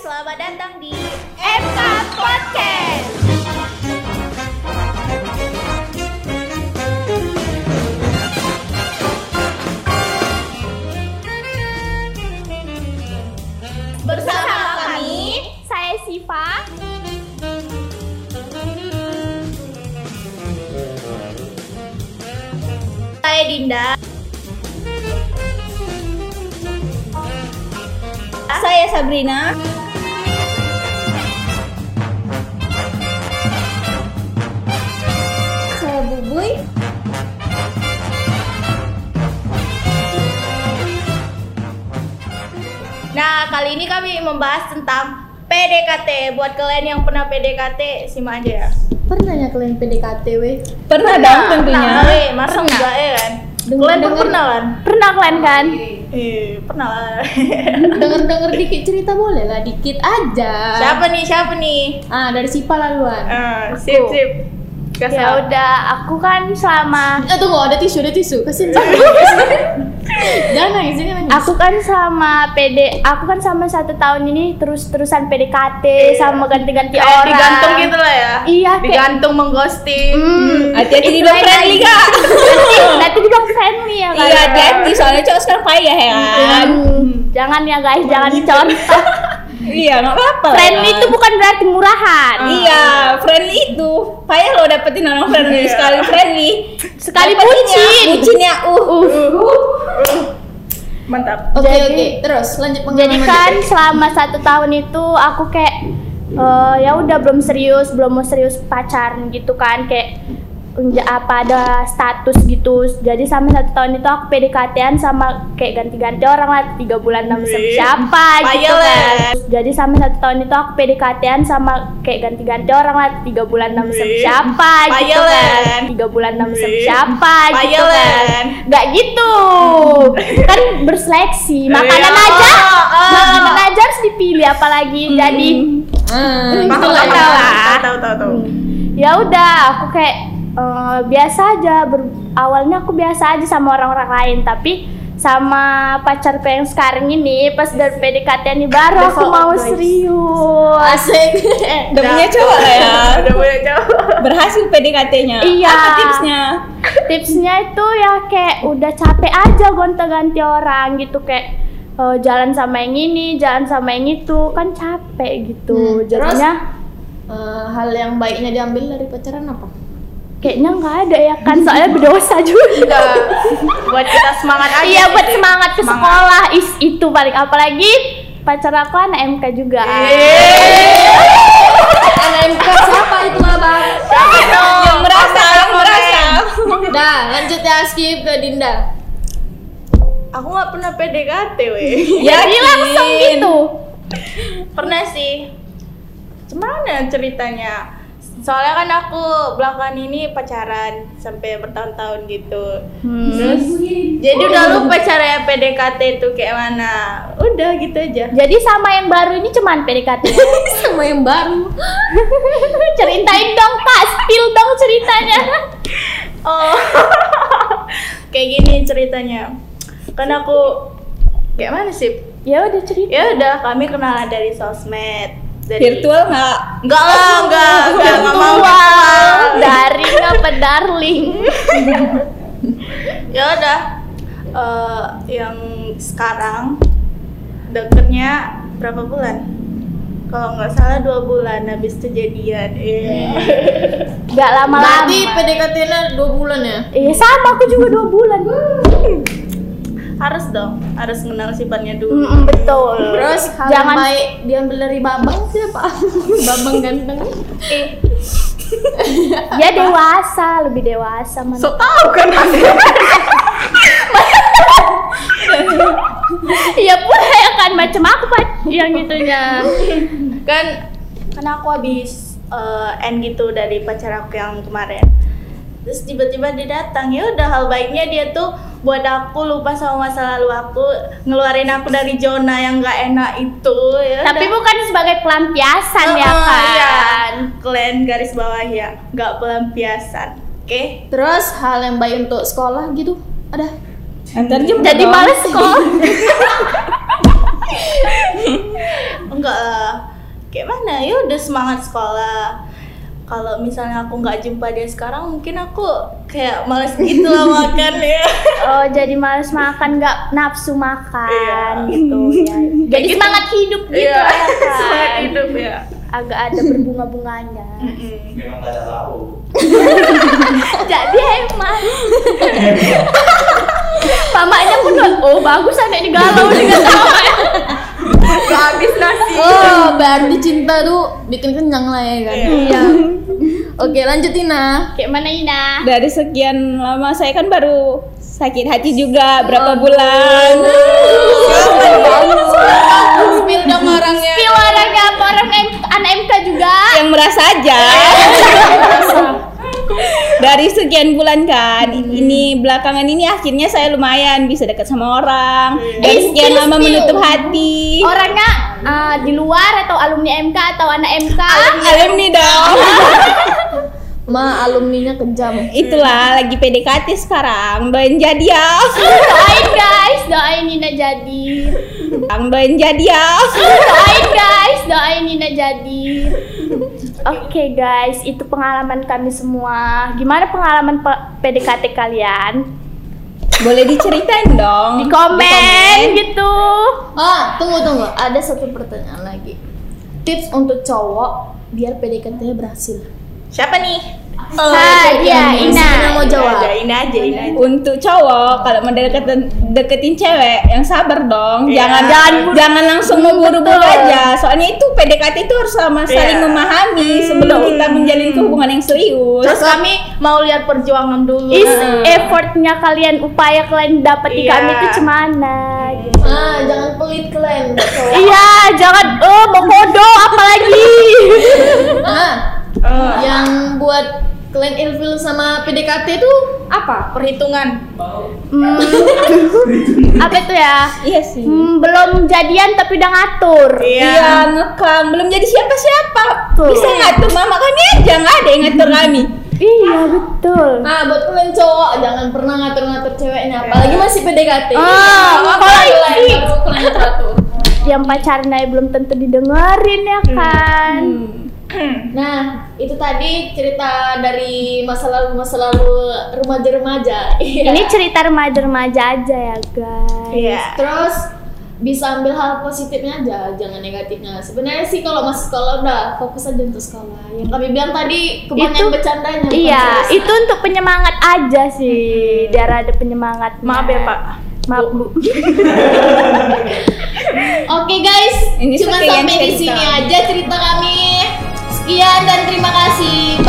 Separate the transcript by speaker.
Speaker 1: selamat datang di MK Podcast. Bersama kami, saya Siva. Saya Dinda. Saya Sabrina. Saya Bubuy. Nah, kali ini kami membahas tentang PDKT. Buat kalian yang pernah PDKT, simak aja ya.
Speaker 2: Pernah ya kalian PDKT, weh?
Speaker 3: Pernah dong tentunya.
Speaker 1: Pernah, weh. masa enggak ya kan?
Speaker 2: Dengar-
Speaker 1: Kalian pun
Speaker 2: dengar.
Speaker 1: pernah kan?
Speaker 3: Pernah kalian kan?
Speaker 1: Eh, pernah lah.
Speaker 2: Dengar-dengar dikit cerita boleh lah, dikit aja.
Speaker 1: siapa nih? Siapa nih?
Speaker 2: Ah, dari Sipa laluan.
Speaker 1: Eh, sip, sip.
Speaker 3: Ya
Speaker 1: Kasih
Speaker 3: udah, aku kan selama
Speaker 2: Eh, tunggu, ada tisu, ada tisu. Kasih tisu. Jangan nangis, ini nangis.
Speaker 3: aku kan sama PD, aku kan sama satu tahun ini terus-terusan PDKT sama
Speaker 1: Iya.
Speaker 3: ganti-ganti
Speaker 1: Kayak
Speaker 3: orang.
Speaker 1: digantung gitu lah ya
Speaker 3: Iya, kayak-
Speaker 1: digantung mengghosting
Speaker 3: Hmm.
Speaker 4: Hati-hati di
Speaker 3: Istilahnya
Speaker 4: friendly
Speaker 3: gitu.
Speaker 4: kak
Speaker 3: Nanti, nanti dibilang friendly ya kan?
Speaker 4: Iya hati-hati soalnya cowok sekarang payah ya kan
Speaker 3: Jangan ya guys, jangan dicontoh.
Speaker 4: Iya nggak apa-apa lah,
Speaker 3: friendly
Speaker 4: kan?
Speaker 3: itu bukan berarti murahan.
Speaker 4: Iya friendly itu Payah lo dapetin orang friendly
Speaker 1: Iya.
Speaker 4: Sekali friendly
Speaker 3: Sekali
Speaker 4: Dapetinnya,
Speaker 3: bucin.
Speaker 4: Bucinnya uh
Speaker 3: Hmm.
Speaker 1: mantap
Speaker 2: Oke,
Speaker 3: Jadi-
Speaker 2: oke. Terus, lanjut
Speaker 3: Jadi
Speaker 2: pengalaman.
Speaker 3: kan selama satu tahun itu aku kayak eh, ya udah belum serius, belum mau serius pacaran gitu kan kayak nja- apa ada status gitu. Jadi sama satu tahun itu aku PDKT-an sama kayak ganti-ganti orang lah tiga bulan sama
Speaker 1: Wih,
Speaker 3: siapa gitu
Speaker 1: payah lah.
Speaker 3: kan. Jadi sama satu tahun itu aku PDKT-an sama kayak ganti-ganti orang lah tiga bulan sama
Speaker 1: Wih,
Speaker 3: siapa gitu
Speaker 1: payah
Speaker 3: kan.
Speaker 1: lah.
Speaker 3: Tiga bulan sama
Speaker 1: Wih,
Speaker 3: siapa gitu
Speaker 1: payah
Speaker 3: kan.
Speaker 1: lah.
Speaker 3: Gak gitu. kan berseleksi. Makanan
Speaker 1: Iya.
Speaker 3: aja.
Speaker 1: Oh, oh.
Speaker 3: Makanan aja harus dipilih apalagi jadi
Speaker 2: Ah,
Speaker 4: Hmm.
Speaker 2: gitu
Speaker 1: tahu
Speaker 2: lah ya.
Speaker 1: tahu
Speaker 3: lah.
Speaker 1: tahu tahu tahu
Speaker 3: ya udah aku kayak eh, biasa aja ber- awalnya aku biasa aja sama orang-orang lain tapi sama pacarku yang sekarang ini pas dari PDKT ini baru aku mau serius
Speaker 2: Asik.
Speaker 4: Udah punya cowok lah ya
Speaker 1: udah punya cowok
Speaker 4: Berhasil PDKT-nya
Speaker 3: Iya.
Speaker 4: Apa tipsnya?
Speaker 3: tipsnya itu ya kayak udah capek aja gonta-ganti orang gitu kayak eh, jalan sama yang ini jalan sama yang itu kan capek gitu
Speaker 2: Hmm, terus?
Speaker 3: jadinya
Speaker 2: Eh, hal yang baiknya diambil dari pacaran apa?
Speaker 3: kayaknya nggak ada ya kan soalnya berdosa juga
Speaker 1: Udah. buat kita semangat aja
Speaker 3: Iya buat semangat ke
Speaker 1: Semangat.
Speaker 3: sekolah is itu paling apalagi pacar aku anak MK juga.
Speaker 1: Eh.
Speaker 3: Eh,
Speaker 2: NMK siapa itu lah, Bang?
Speaker 4: Yang merasa Yang merasa
Speaker 2: Dah, lanjut ya, skip ke Dinda.
Speaker 1: aku nggak pernah PDKT weh
Speaker 3: Jadi langsung gitu.
Speaker 1: pernah sih gimana ceritanya soalnya kan aku belakangan ini pacaran sampai bertahun-tahun gitu
Speaker 3: Hmm.
Speaker 1: terus jadi udah lupa cara PDKT itu kayak mana udah gitu aja
Speaker 3: Jadi sama yang baru ini cuman PDKT.
Speaker 2: Sama yang baru.
Speaker 3: Ceritain dong Pak, spill dong ceritanya.
Speaker 1: Oh, kayak gini ceritanya. Kan aku kayak mana sih?
Speaker 3: Ya udah cerita.
Speaker 1: Ya udah, kami kenalan dari sosmed. Dari
Speaker 4: Virtual nggak?
Speaker 1: Enggak lah, enggak, enggak enggak mau.
Speaker 3: Daring apa darling?
Speaker 1: Ya udah. Eh, yang sekarang deketnya berapa bulan? Kalau nggak salah dua bulan habis kejadian. Eh.
Speaker 3: Gak lama-lama.
Speaker 2: Berarti PDKT-nya 2 bulan ya?
Speaker 3: Iya sama aku juga dua bulan.
Speaker 1: Harus dong, harus kenal sifatnya dulu.
Speaker 3: Mm-mm, betul.
Speaker 2: Terus hal
Speaker 3: jangan
Speaker 2: yang baik diambil dari Babang siapa? Babang ganteng.
Speaker 1: Eh,
Speaker 3: dia Ya dewasa, lebih dewasa mana.
Speaker 1: so tau kan
Speaker 3: Iya pula ya kan macam aku Pak yang
Speaker 2: Iya.
Speaker 3: itunya.
Speaker 1: kan karena aku habis eh, end gitu dari pacar aku yang kemarin terus tiba-tiba dia datang ya udah hal baiknya dia tuh buat aku lupa sama masa lalu aku ngeluarin aku dari zona yang nggak enak itu ya
Speaker 3: Tapi
Speaker 1: udah.
Speaker 3: bukan sebagai pelampiasan ya
Speaker 1: Oh,
Speaker 3: kan.
Speaker 1: iya. kalian garis bawah ya nggak pelampiasan oke
Speaker 2: Terus hal yang baik untuk sekolah gitu ada?
Speaker 4: Antar jemput
Speaker 3: Jadi
Speaker 1: Iya.
Speaker 4: dong.
Speaker 3: males sekolah.
Speaker 1: enggak lah misalnya ya udah semangat sekolah kalau misalnya aku nggak jumpa dia sekarang mungkin aku kayak males gitu lah makan ya
Speaker 3: Oh, jadi males makan, nggak nafsu
Speaker 1: Iya.
Speaker 3: makan gitu ya. Jadi
Speaker 1: gitu.
Speaker 3: semangat hidup gitu
Speaker 1: Iya,
Speaker 3: ya kan.
Speaker 1: semangat hidup ya
Speaker 3: Agak ada berbunga-bunganya.
Speaker 1: Mm-mm.
Speaker 5: Memang gak ada tahu.
Speaker 3: jadi hemat. Mamanya pun oh bagus anak ini galau dengan
Speaker 1: Gak habis nasi
Speaker 2: Oh, baru dicinta tuh bikin kenyang lah ya kan.
Speaker 1: Iya.
Speaker 2: Iya. Oke, nah. lanjut Ina.
Speaker 3: Kayak mana Ina?
Speaker 4: Dari sekian lama saya kan baru sakit hati juga berapa bulan.
Speaker 2: Spill dong orangnya.
Speaker 3: Kayak orang apa orang M- anak MK juga.
Speaker 4: yang merasa aja. Dari sekian bulan kan, ini belakangan ini akhirnya saya lumayan bisa dekat sama orang. Dari sekian
Speaker 3: Excuse
Speaker 4: lama
Speaker 3: you.
Speaker 4: menutup hati.
Speaker 3: Orangnya eh, di luar atau alumni MK atau anak MK?
Speaker 4: Alumni dong.
Speaker 2: Ma, alumninya kejam.
Speaker 4: Itulah lagi PDKT sekarang, belum jadi ya.
Speaker 3: doain guys, doain Nina jadi.
Speaker 4: Belum jadi ya.
Speaker 3: Doain guys, doain Nina jadi. Oke guys, itu pengalaman kami semua. Gimana pengalaman pe- PDKT kalian?
Speaker 4: Boleh diceritain dong.
Speaker 3: Di komen gitu.
Speaker 2: Oh, tunggu tunggu, ada satu pertanyaan lagi. Tips untuk cowok biar PDKT-nya berhasil.
Speaker 1: Siapa nih?
Speaker 2: Oh,
Speaker 3: Ah, iya, Ina.
Speaker 2: mau jawab.
Speaker 1: Ada, Ina aja, Ina aja
Speaker 4: Untuk cowok kalau mau deketin, deketin cewek yang sabar dong.
Speaker 1: Iya.
Speaker 4: Jangan jangan jangan langsung mau buru-buru
Speaker 3: betul.
Speaker 4: aja. Soalnya itu PDKT itu harus sama saling
Speaker 1: Iya.
Speaker 4: memahami sebelum kita menjalin hubungan yang serius.
Speaker 1: Terus kami mau lihat perjuangan dulu
Speaker 3: Is effortnya kalian, upaya kalian dapat di
Speaker 1: Iya.
Speaker 3: kami itu cemana? gitu.
Speaker 2: Ah, jangan pelit kalian cowok.
Speaker 3: Iya, jangan oh mau kodo apalagi.
Speaker 2: Ah,
Speaker 1: Eh,
Speaker 2: yang buat kalian ilfil sama PDKT itu apa?
Speaker 1: Perhitungan
Speaker 3: Hmm, apa itu ya?
Speaker 4: Iya sih.
Speaker 3: Hmm, belum jadian tapi udah ngatur.
Speaker 4: Iya, ngekam belum jadi siapa-siapa.
Speaker 3: Betul.
Speaker 4: Bisa ngatur mama kami aja nggak ada yang ngatur kami.
Speaker 3: Iya, betul.
Speaker 2: Nah, buat kalian cowok jangan pernah ngatur-ngatur ceweknya, apalagi masih PDKT.
Speaker 3: Ah,
Speaker 2: kalau
Speaker 3: apalagi.
Speaker 2: kalian baru kalian atur.
Speaker 3: Yang pacarnya belum tentu didengerin ya
Speaker 1: Hmm.
Speaker 3: kan.
Speaker 2: Nah, itu tadi cerita dari masa lalu masa lalu remaja-remaja. Iya.
Speaker 3: Ini cerita remaja-remaja aja ya, guys.
Speaker 1: Iya
Speaker 2: Terus bisa ambil hal positifnya aja, jangan negatifnya. Sebenarnya sih kalau masih sekolah udah fokus aja untuk sekolah. Yang kami bilang tadi kebanyakan
Speaker 3: Itu-
Speaker 2: bercandanya. bukan
Speaker 3: Iya,
Speaker 2: serius.
Speaker 3: itu untuk penyemangat aja sih. Darah ada penyemangat.
Speaker 1: Hmm. Maaf ya Pak
Speaker 3: Maaf, Bu.
Speaker 2: Oke guys,
Speaker 4: Ini
Speaker 2: cuma
Speaker 4: sekian
Speaker 2: sampai di
Speaker 4: cerita.
Speaker 2: sini aja cerita kami. Sekian dan terima kasih.